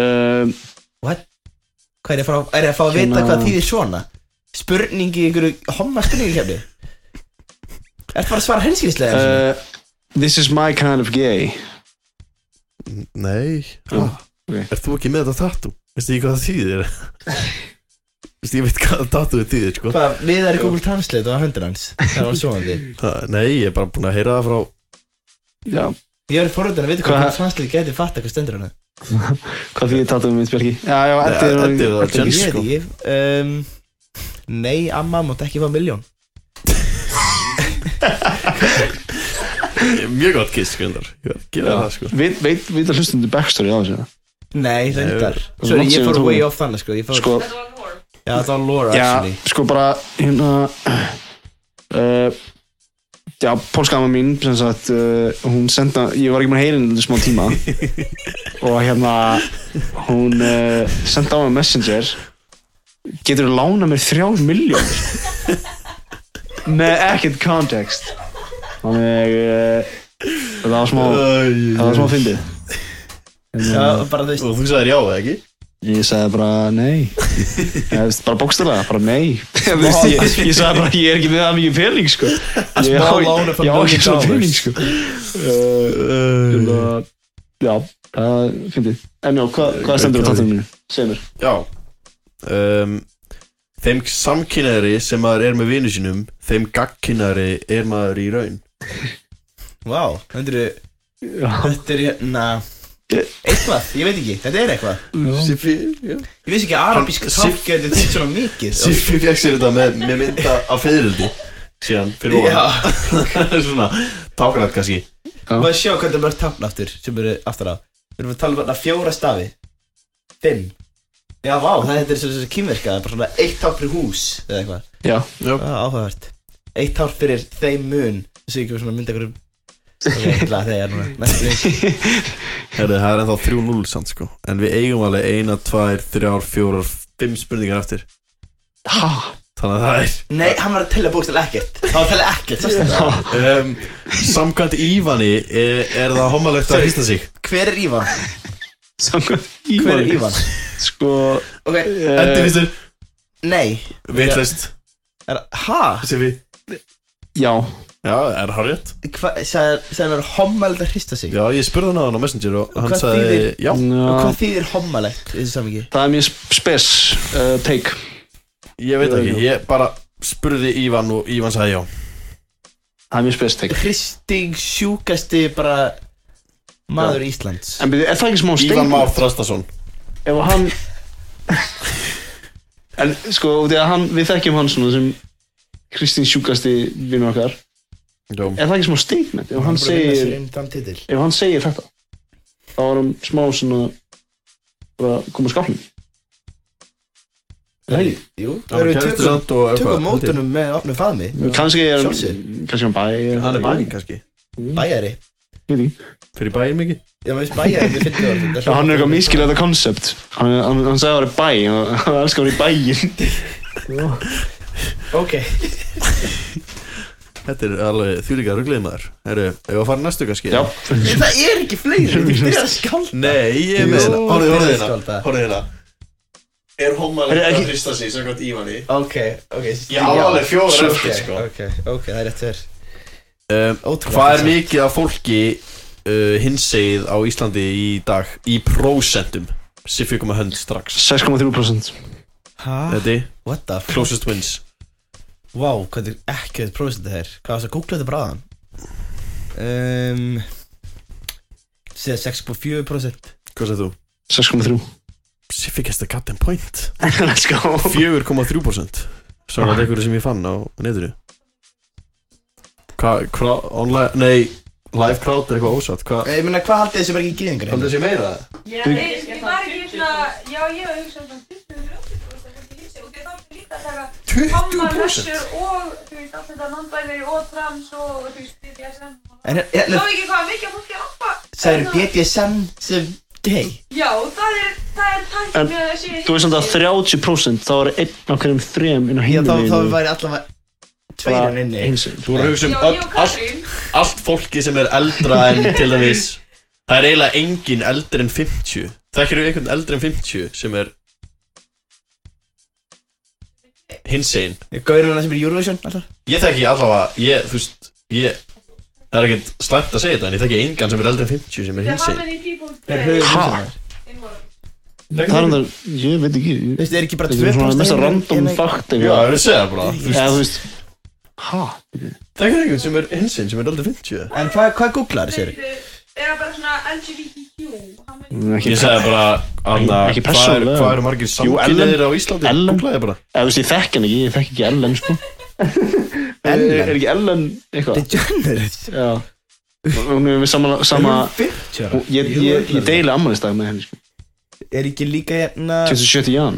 um, Hvað er ég að fá, er ég að, fá að vita Svona- hvað þýðir svona? Spurning í einhverju homma spurningi kemni? Ertu bara að svara henskýrslega? Uh, uh, This is my kind of gay Nei Ah, ok. Ah. Er þú ekki með þetta tattú? Veistu ekki hvað það þýðir? veist, ég veit hvað datuðu tíðir sko. Hvað, við erum Google Translate á hendur hans Það var svoandi Það- Ah, Nei, ég er bara búin að heyra það frá Já, Ég er forröndan að vita Hvað- hvað Google Translate geti fatta hvað stendur hérna. hann hvað um því ég tattum mitt björki? Já, já, Eddi er Eddi er það, Eddi er Jens. Ég veit sko. ekki um, Nei, amma mátt ekki fá miljón Mjög gott kiss, skjöndar Gera það, sko Veit, veit, veit að hlustum til backstory á þessu Nei, reyndar Nei, Sorry, langt ég síðan fór Eh, þú- way off þannig sko, ég fór, Sko, Þetta var lore. Já, það var Laura já, actually sko bara hérna uh, Já, pólskama mín sem sagt, uh, hún senda ég var ekki með heilin í smá tíma og hérna hún uh, senda á mig messenger getur þú lána mér þrjár miljón með ekkert kontekst þannig uh, það var smá það var smá fyndið Já, Mm. bara þú veist Og þú sagðir já, eða ekki? Ég sagði bara nei Ég veist, Bara bókstælega, bara nei Þú veist, ég, ég sagði bara ég er ekki með það mikið pening sko. Ég á smá lán er ég- bara ég á ekki million svona pening dollars. sko. uh, Já, það finnst ég En já, hvað hva stendur á tattunum mínu? Segð mér Já um, Þeim samkynæri sem maður er með vinu sínum Þeim gagkynæri er maður í raun Vá, þetta eru Þetta er hérna Eh. Eitthvað, ég veit ekki, þetta er eitthvað Siffi já. Ég vissi ekki að arabísk Hann- tálk geti þýtt svona mikið Siffi fekk sér þetta með, með mynda á feðrildi Síðan fyrir Já, ofan Svona tákrætt kannski maður sjá hvað þetta mörg tákn aftur sem eru aftur á Við erum að tala um þarna fjóra stafi Fimm Já, vá, það þetta er svona kýmverka Það er bara svona eitt tákn fyrir hús eða eitthvað Já, Já ah, Áhugavert Eitt tákn fyrir þeim mun Þessi ekki svona mynda ykkur Það er eitthvað þegar núna Næstu leik. Herðu, það er ennþá 3-0 samt sko En við eigum alveg eina, tvær, þrjár, fjórar, fimm spurningar eftir ha, Þannig að það er Nei, hann var að tella bókstall ekkert Hann var að tella ekkert, sástu þetta? um, Samkvæmt Ívani er, er það homalegt að hýsta sig Hver er Ívan? samkvæmt Hver er Ívan? Sko Ok, Endi uh, finnst þér nei Vittlust er, Ha? sem við Já, Já, er það rétt? Hvað, sagði hann er hommalegt að hrista sig? Já, ég spurði hann á hann á Messenger og hann Hvað sagði þýðir? Já, Og Ná, hvað þýðir hommalegt í þessu samingi? það er mjög spes uh, take ég veit ekki Ég bara spurði Ívan og Ívan sagði já Það er mjög spes take hristing sjúkasti bara maður Íslands En byrju, er það ekki smá stein? Ívan Már Þrastason ef að hann en sko út í að hann, við þekkjum hann svona sem Kristín sjúkasti vinnu okkar Já, er það ekki smá statement ef hann segir, segir ef hann segir þetta þá er hann smá svona bara koma skapnum er það ekki? Jú, hann við er kæftur tökum, samt og tökum mótunum með opnu faðmi kannski er hann Sjálfsagt. kannski er hann bæ Hann er bæinn kannski Bæjari Ég veit ekki. Fyrir bæinn mikið Já, maður veist bæjari við finnum orðið þetta Já, hann er eitthvað miskil þetta koncept hann, hann, hann sagði að það er bæ hann- hann elskar að vera í bæin Ok Þetta er alveg þvílíka ruglið maður Herru, ef að fara næstu kannski já, Það er ekki fleiri, þú byrjar að skálda Nei, ég er Jú, með hérna Horfðu, þetta er horfðu hérna skálda. Horfðu hérna Er homalegt Er að ekki- hrista sig samkvæmt Ívani? Ok, ok Ég á alveg fjóra Ok, eftir sko ok, ok, það er rétt verð Eh, um, Ótrúlega Hvað er fínt. mikið af fólki uh, hinsegið á Íslandi í dag í prósentum? Siffi kom að hönd strax 6,3% Hæ? Þetta er What the f... closest wins Vá, hvað er ekki að prófist þetta hér Hvað varst að googla þetta bráðan? Um, Sér 6,4% Hvað segir þú? 6,3 Siffi gæst að cut and point let's go 4,3% Svona einhverju sem ég fann á netinu Hvað, hva, online, nei Live crowd er eitthvað ósatt Hvað, Ég meina, hvað haldið þessi bara ekki í gyðingar? hérna? haldið þessi meira? Ég ég var ekki svona, já ég var hugsa um það 20-30% ekki hýsi og það er líka að taka 20%? hammalössur og þú veist allt þetta non-binary og trans og þú veist BDSM og það. En Sá hérna, ekki hvað mikið fólk er amma. það eru BDSM sem gay Já, það er, það er En tæknið að það sé Þú veist samt að 30% þá er einn af hverjum þrejum inn á Já, hínum þá, þá væri allavega tveirinn inni Þú voru að hugsa um Já, öll, ég og allt, Katrín. allt fólki sem er eldra en til dæmis Það er eiginlega engin eldri en 50 Þekkir þú einhvern eldri en 50 sem er hinsegin Gaurinn hann sem er í Eurovision alltaf Ég þekki allavega, ég, þú veist, ég Það er ekkert slæmt að segja þetta en ég þekki engan sem er eldri en 50 sem er There are how hinsegin many people Er dead höfuð Ha? Eurovision in one? Það er það, ég veit ekki ég- Veistu, er ekki bara hérna Þetta er svona mest random fakt Já, eitthvað það er að segja bara þú Eða þú veist, veist Hæ? Það er einhvern sem er hinsinn sem er aldrei 50 En hvað, hvað googlar þið sér? Eða bara svona LGBTQ hann veit- Ég Ekki segja bara Anna, Ekki hvað er- persónulega. hvað eru margir Ellen- samkynniðir á Íslandi? Ellen- Googlaði bara Eða þú veist, ég þekk hann ekki, ég þekk ekki Ellen sko Ellen? Er ekki Ellen eitthvað? DeGeneres Já Hún er við sama, sama Er hún 50 ára? Ég, ég, ég, ég deili ammalistag með henni sko Er ekki líka hérna 27. jan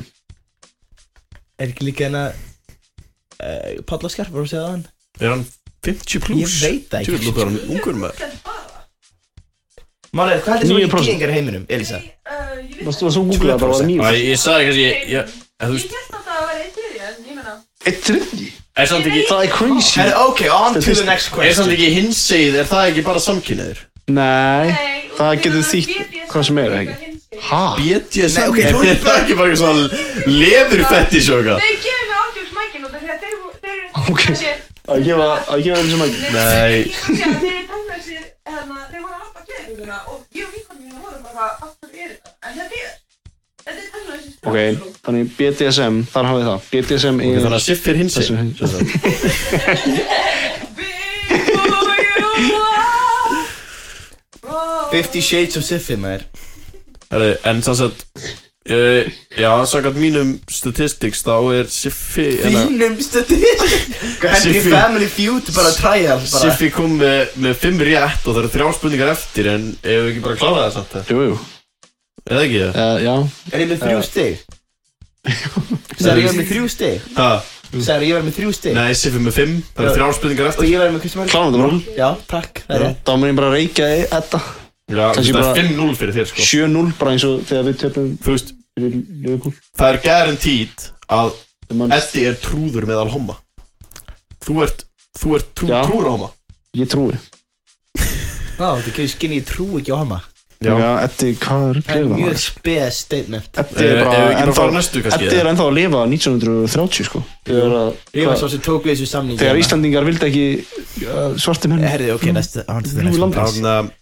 Er ekki líka hérna uh, Pálla Skarp var að segja það hann Er hann 50 Ég pluss? veit það Tjóður, ekki lúkar hann ungur maður Þetta er bara. Málega, hvað heldur þú ekki 9%? gíðingar í heiminum, Elisa? Ég, uh, ég veit Varstu að svo googlaði bara var það Æ, nýjum ég sagði kannski Ég, ég, en þú Ég veist held að það var einn fyrir en ég meina Eitt þriðji Er samt ekki Það er crazy Herri, ok, on to the next Er samt question ekki hinsegið, er það ekki bara samkynniðir? Nei Nei, og Það ég getur meina, þýtt BDSM hvað sem er, er ekki? eitthvað hinsegin. Hæ? BDSM Nei, ok, Er þú- það ekki bara eitthvað svona leðurfetti svo eitthvað? Þeir gefur mig ángjöf smækin út af því að þeir þeir Ok. eru Að gefa, að gefa þeim sem að Nei. Ég kom sér að þeir tókna sér hérna, þeir voru að lappa gleðinguna og ég og vinkonum mínu vorum bara af hverju er þetta? En þetta er þetta er tókna sér Ok, þannig BDSM, þar hafið það BDSM Ok, er Þannig að Siff er Þessu hinsegið hins- sem sagt. Big boy you are 50 Shades of Siffy, maður Herri, En sem sagt Uh, já, samkvæmt mínum statistics þá er Siffi hérna, Þínum statíð Henry Siffi. Family Feud bara trial bara Siffi kom með, með fimm rétt og það eru þrjár spurningar eftir en ef við ekki bara klára það samt það? Jú, jú, Eða ekki það? uh, já Er ég með þrjú stig? Særi, ég var með þrjú stig Ha, Særi, ég var með þrjár stig nei, Siffi með fimm, það eru Já. þrjár spurningar Og eftir ég var með hversu mörg Klárum þetta bara Já, takk, það er rétt Þá mun ég bara að reykja þig þetta Já, Kannski það bara- er 5-0 fyrir þér sko 7-0 bara eins og þegar við töpum Þú veist, fyrir Liverpool það er guaranteed að Þegar mann- Eddi er trúður með alhomma Þú ert, þú ert trú, Já. trúður alhomma Ég trúi Ná, þetta gefur skinni, ég trú ekki á hana Já, Já, Eddi, hvað er Það er að mjög gera spes statement Eddi er Eh, ef við ekki bara bara ennþá fara næstu kannski, Eddi er eða? ennþá að lifa 1930 sko Þegar, að- Ég var hvað- svo sem tók við þessu samningi þegar Íslandingar vildi ekki uh, svarti Eh, menn Herði, ok, næsta Hann Blue þetta Lambda. Þannig að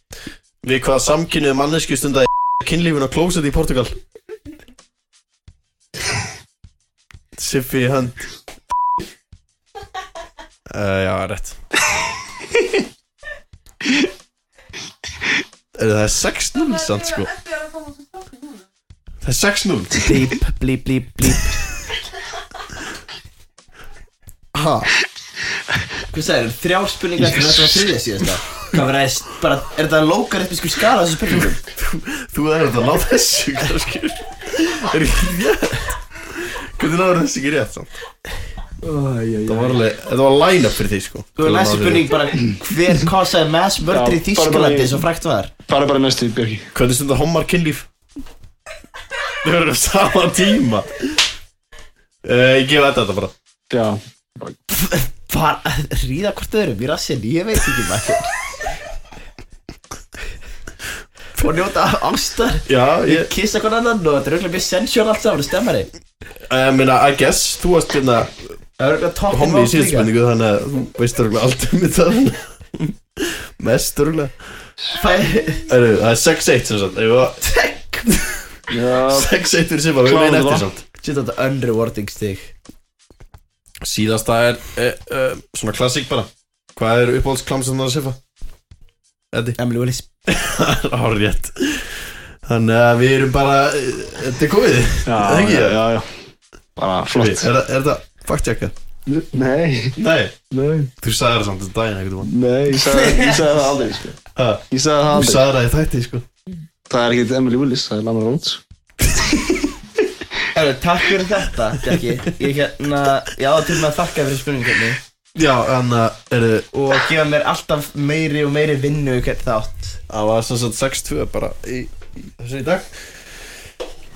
við hvaða samkynniðu mannesku stundaði kynlífin á klósett í Portugal Siffi í hönd uh, Já, rétt Er það er 6-0 samt sko Þetta er að koma svo stofn núna Það er 6-0 Blíp, blíp, blíp, blíp Ha Hvað sagðir, þrjár spurningar eftir þetta var þriðja síðasta Hvað verður það bara, er þetta lókaritmiskur skala á þessu spurningum? Þú er þetta að ná þessu kannski Er ekki rétt Hvernig náður þessu ekki rétt samt Það var alveg, þetta var line-up fyrir því sko Þú er næstu spurning bara, hver causaði mass murder í Já, bara- bara- Þýskalandi eins og frækt var? Bara bara næstu, Björki Hvernig stundar homar kynlíf? Þau verður á sama tíma uh, Ég gefa þetta þetta bara Já, Bara að ríða hvort öðrum í rassin, ég veit ekki maður Og njóta ástar Já, ég kissa hvern annan og þetta er auðvitað mjög sensjón allt saman, stemmari uh, meina, I guess, þú varst hérna Það er auðvitað toppin homi í síðspurningu Þannig að þú veist örgulega allt um þetta Mest örgulega Fæ, Það er 6-1 sem sagt Ef að- tek 6-1 fyrir Sifa, við Klárum meina eftir þetta. samt Sýtt þetta unrewarding stig Síðasta er uh, uh, svona klassík bara Hvað er uppáhaldsklamsandar að Sifa? Eddi Emily Willis Hárrétt Þannig að við erum bara eh, Þetta er góðið já, Ekki? já, já, já. Bara Er flott það- er þetta faktjaka? Nei, Nei nei, Þú sagði það samt um daginn einhvern veginn nei Ég sagði ég sagði það aldrei sko. Ha? Ég sagði það Þú aldrei sagði það í þætti sko Það er ekkert Emily Willis, það er Lana Rhodes Erðu, takk fyrir þetta, Jackie Ég hérna, já til maður þakka fyrir spurningarni Já, þannig að er þið Og gefa mér alltaf meiri og meiri vinnu í hvern þátt Það var sem sagt 6-2 bara í, í þessu í dag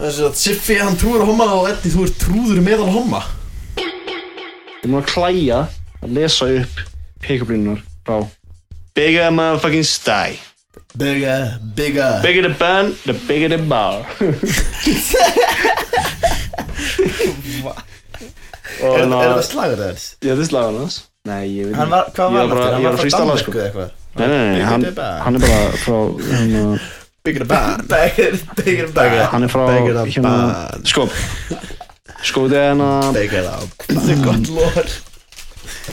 Þessi að Siffi hann trúður homma og Eddi þú ert trúður meðal homma Ég er múin að klæja að lesa upp pick-up-línunar frá Bigger than my fucking sty Bigga, bigga Bigger the band, the bigger the bar Og Er er þannig þetta að slagur þess? Ég hefði slagað hans Nei, ég veit Hann var, hvað Ég var bara- aftur? ég var Hann var frá freestyle, Danmarku sko. eða eitthvað Nei, nei, nei, hann, Bigger the band. hann er bara frá hérna, Bigger the band Beggar, beggar, beggar Hann er frá Bigger the hérna, band skop Skop, þetta er hérna Bigger the Það er gott lór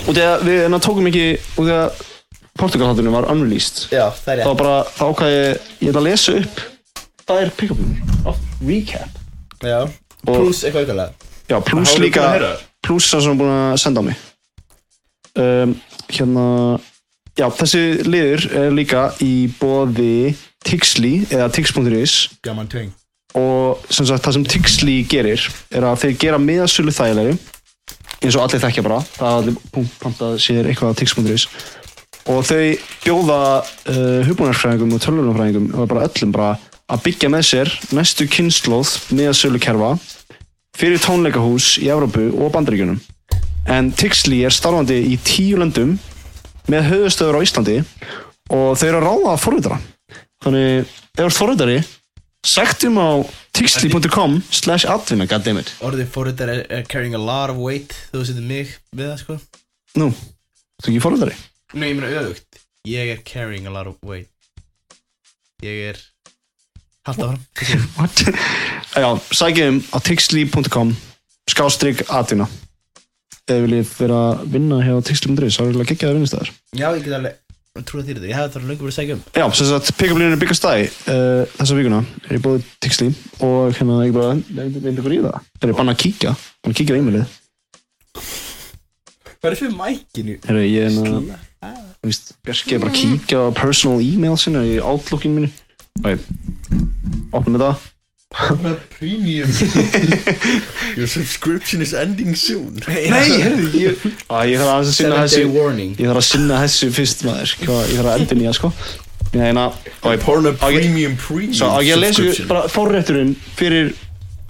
Og þegar við hérna tókum ekki Og þegar Portugal-hattunum var unreleased Já, það er Þá rétt bara, þá ákvæði ég Ég ætla að lesa upp Það er pick-upinu Recap Já Plus eitthvað ykkurlega Já, pluss Háðu líka búin að heyra þær? Pluss það sem er búin að senda á mig um, Hérna Já, þessi liður er líka í boði Tixli eða Tix.is Gaman tving og sem sagt það sem Tixli gerir er að þeir gera miðasölu þægilegri eins og allir þekkja bara það er allir punkt pantað sér eitthvað á Tix.is og þau bjóða uh, hugbúnarsfræðingum og tölvunarfræðingum og bara öllum bara að byggja með sér næstu kynnslóð miðasölu kerfa fyrir tónleikahús í Evrópu og Bandaríkjunum en Tixli er starfandi í tíu löndum með höfustöður á Íslandi og þau eru að ráða að forvitara þannig ef þú ert forvitari Sektum á tixli.com slash atvinna, goddammit Orðið fórhundar er, er carrying a lot of weight Þú setur mig við það sko Nú, þú ekki forhaldari? Nei, ég meina öðugt Ég er carrying a lot of weight Ég er Halda áfram What? Já, sækjum á tixli.com skástrygg atvinna Ef viljið vera að vinna hér á tixli.is, þá er það geggjaði vinnustæðar Já, ég get alveg Ég trúi þér þetta, ég hefði þarf löngu verið að segja um Já, sem sagt, pick-up-línur byggast stæði uh, þessa vikuna er ég búið tixli og hérna ég bara, nefndi ykkur í það er ég bann að kíkja, bann að kíkja á e-mailið Hvað er fyrir mækinu? Herru, ég er hérna þú veist, Bjarki er bara að kíkja á personal e-mail sinna í outlookin mínu Æ, opnum þetta band Premium Your subscription is ending soon Nei, herðu, ég Æ, ég þarf aðeins að sinna Seven þessu day warning Ég þarf að sinna þessu fyrst maður Hvað, Ég þarf að endur nýja sko Ég þarf að Pornhub Á ég- Premium Premium Svo á ég að lesa ykkur subscription. bara forrétturinn fyrir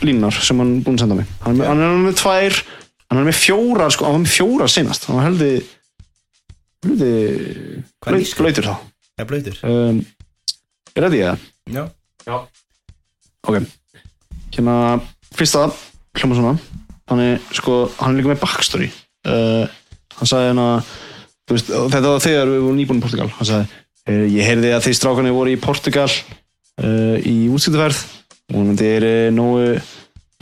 línar sem hann er búinn að senda mig Hann er með, hann er með tvær Hann er með fjórar sko, hann var með fjórar sinast Hann var heldi Heldi Hvað er blaut- nýskur? Blautur þá Það er blöytur um, Er þetta ég það? Já Ok Hérna, fyrsta hljóma svona Hann er, sko, hann er líka með backstory uh, Hann sagði hérna þú veist, og Þetta var þegar við vorum nýbúin í Portugal Hann sagði, uh, ég heyrði að þeir strákanir voru í Portugal uh, Í útskiptuferð Og hann er uh, nógu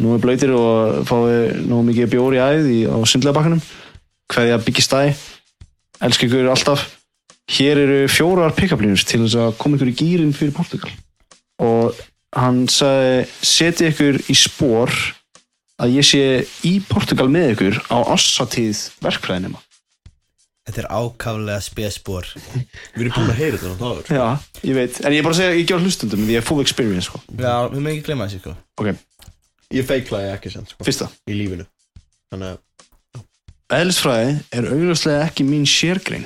Nógu blöytir og fái Nógu mikið bjór í æð í, á sundlega bakkanum Hverja byggist stæ Elsku ykkur alltaf Hér eru fjórar pick-up línur til þess að koma ykkur í gýrin fyrir Portugal og hann sagði seti ykkur í spór að ég sé í Portugal með ykkur á ássatíð verkfræðinema Þetta er ákaflega spesbor Við erum búin að heyra þetta náður Já, ég veit, en ég er bara að segja ég gjör hlustundum því ég er full experience sko. Já, við mögum ekki glemma þessu sko Ok, Ég feiklaði ekki sem sko fyrsta Í lífinu Þannig að Eðlisfræði er augljóslega ekki mín sérgrein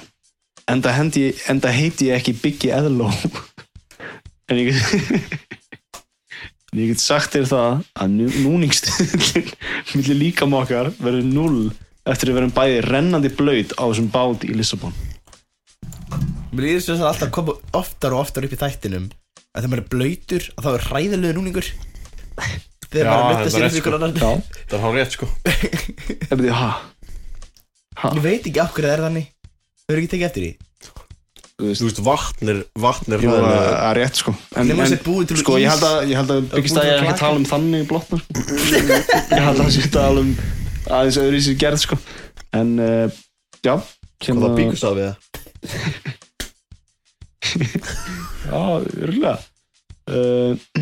enda, hendi, enda heiti ég ekki Biggie Eðló en ég get en ég get sagt þér það að nú, núningstillin millir líka makar verður null eftir að verðum bæði rennandi blöyt á þessum bát í Lissabon Mér líður svo að alltaf koma oftar og oftar upp í þættinum að þegar maður er blöytur að þá er ræðilegu núningur þegar Já, maður er að þetta er nutta sér rétt, upp ykkur sko. annan Já, Það er hár rétt sko ef þið, ha ha, Ég veit ekki af hverju það er þannig Þau eru ekki tekið eftir því þú veist Þú veist vatn er Vatn er Jú, það hræðilega- er rétt sko en, en Nema þessi búið til sko úr ég ís. held að, ég held að byggist að ég er ekki að tala um þannig blotna sko. ég held að það sé að tala um aðeins öðru í sér gerð sko en uh, já Og hérna það bíkust af við það já, örgulega uh,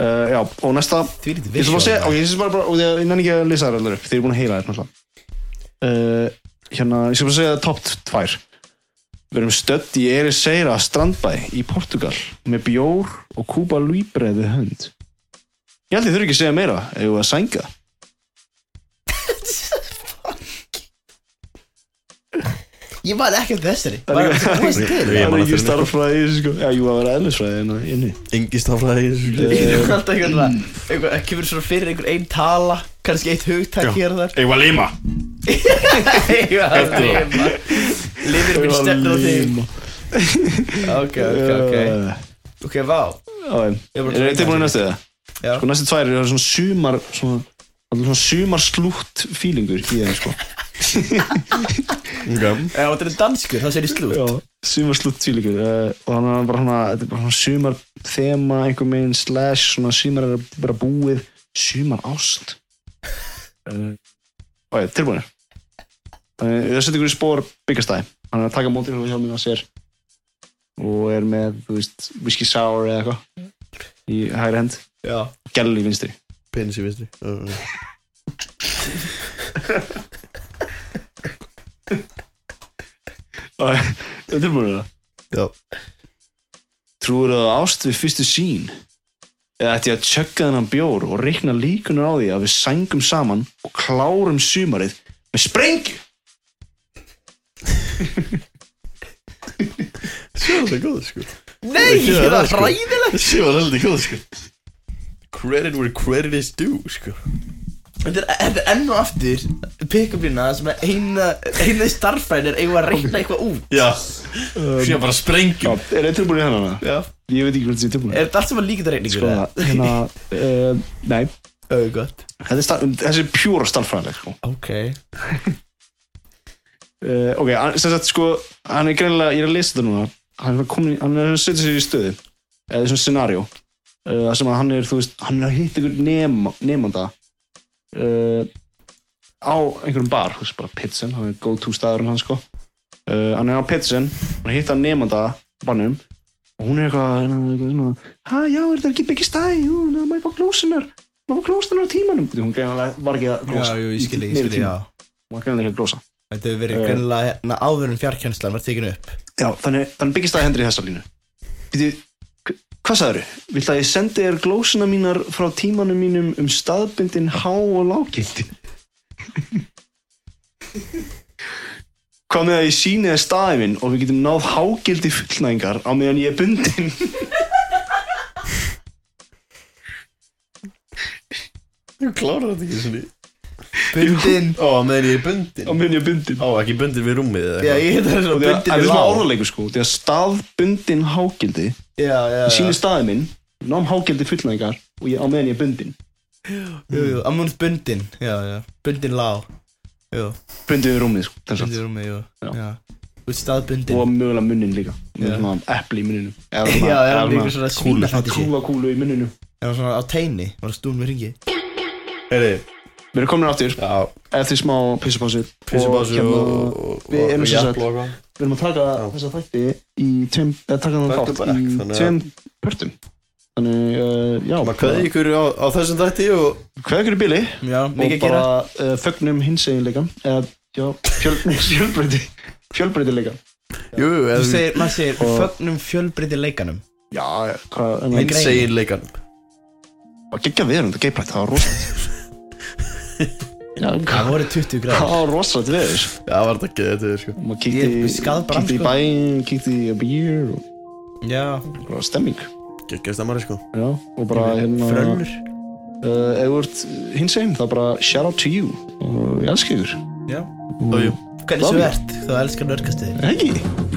uh, já, og næsta Því lítið Ég ætla bara að segja, visual. ok, ég syns bara, bara og því að- ég nenni ekki að lýsa þær allar upp, þeir eru búin að heyra þær náttúrulega. Uh, hérna, ég skal bara segja top 2. Við erum stödd í Ericeira strandbæ í Portugal með bjór og kúpa lýbreið við hönd. Ég held ég þurfi ekki að segja meira, ef ég var að sænga. Ég var ekki af þessari Var líka- ekki búist til Ég Það er ekki man eftir henni, starffræði, sko. Já, jú, það var eðlisfræði hérna inni. Engi stafræði Ég er alltaf einhvern veginn eitthvað- það Kemur svona fyrir einhver einn tala kannski eitt hugtæk Já. hér og þar Ég var lima Eftir það. Livir minn stefnir á þig Ok, ok, ok Uh, Ok, vá ok. Ég bara- Er þetta búin í næstu það? Já. Sko næstu tvær eru svona sumar svona, það er svona sumar slútt fílingur í þeim sko Ok. Ef Eh, þetta er danskur, þá segir ég slút Sumarslutt tvílíkur uh, og þannig að bara hana, þetta er bara svona sumar þema einhvern veginn slash svona sumar er að vera búið sumar ást uh, og ég, tilbúinir þannig Eh, að það setja ykkur í spór byggastæði hann er að taka mótið hjá mér að sér og er með, þú veist, whisky sour eða eitthvað í hægri hend Já. gæl í vinstri Penis í vinstri Uh, uh. og ég er tilbúinir það Já Trúir það ást við fyrstu sín? Eða ætti ég að tjögga þennan bjór og reikna líkunar á því að við sængum saman og klárum sumarið með sprengju? Sjá það er góð sko Nei, Já, það er sko. hræðilegt Sjá það er heldur góð sko Credit where credit is due sko Þetta er- þetta er enn og aftur pick-up-lína sem er eina, eina starffræðin er eiga að reyna eitthvað út Já Sjá bara sprengjum er ég tilbúin í hennan? Já Ég veit ekki hvernig ég er tilbúin. Er þetta allt sem að líka þetta reyningur? Sko, hérna, uh, nei, Það er gott þetta er sta- þessi er pjúra starffræðileg, sko. Ok Uh, ok, hann- sem sagt, sko, hann er greinilega, ég er að lesa þetta núna, hann er komin, í- hann er að setja sér í stöðu, eða svona scenario, uh, þar sem að hann er, þú veist, hann er að hitta einhvern nema, nemanda uh, á einhverjum bar, þú veist, bara pitsen, hann er go to staðurinn hans, sko, uh, hann er á pitsen, hann er að hitta nemanda á bannum, og hún er eitthvað, hérna, eitthvað svona, hæ, já, er þetta ekki byggja stæði, jú, ná, maður fá glósunar, maður fá glósunar á tímanum, hún greinilega var ekki að glósa, meiri tíma, hún var greinilega ekki að glósa. Þetta hefur Eh. verið grunnilega hérna áður en fjarkjönslan var tekin upp Já, þannig, þannig byggist það hendur í þessa línu. Býtu, hvað sagður? Vilt að ég sendi þér glósuna mínar frá tímanum mínum um staðbundin há og lágildi? Hvað með að ég síni þér staðinn minn og við getum náð hágildi fullnæðingar á meðan ég er bundin? Ég klára þetta ekki svona Bundin Ó, meðan ég er bundin á meðan ég er bundin? Ó, ekki bundin við rúmið eða Já, ég hefði Og það svona það bundin er í smá lág orðarleikur sko, því að staðbundin hágildi, Já, já, ég já síni staðinn minn, nám hágildi fullnæðingar og ég, á meðan ég er bundin. Jú, jú, amúnus bundin Já, já Bundin lág Jú, Bundin við rúmið sko, þess að. bundin í rúmi, jú Já. Já Út staðbundin og mögulega munnin líka með Já. svona epli í munninum eða Já, er hann líka svona svona svínaþátti sér kúlakúlu í munninum Er hann svona á teini Var stún með ringi Heyri við erum komin aftur Já, eftir smá pissupásu og, pissubásu og, hérna, og, við erum og sem sagt- jafnblá og eitthvað. við erum að taka Já. þessa þætti í tveim eða taka Back þannig to þátt back, í þannig að- tveim pörtum þannig uh, já Maður kveði ykkur á, á þessum þætti og hvað ykkur í bili Já, mikið og að gera bara uh, fögnum hins eiginleikan eða já fjöl, fjölbreyti fjölbreytileikan Jú, jú, Þú eða við segir, maður segir Og- Fögnum fjölbreyti leikanum já hvað en Hins- það Insane leikan var geggja við erum þetta geiprætt það var rosalegt já Það hvað voru 20 gráður það var rosalegt við þessu Já, var þetta ekki þetta sko og maður Ég kíkti skalf bara, kíkti í sko. bæinn, kíkti í býr og Já bara stemming Gekkjast að maður sko já, og bara hérna Frönnur uh, ef þú ert hins einn þá bara shout out to you og ég elska ykkur Já Og jú Love Hvernig svo you. ert Þú elskar nörgastið ekki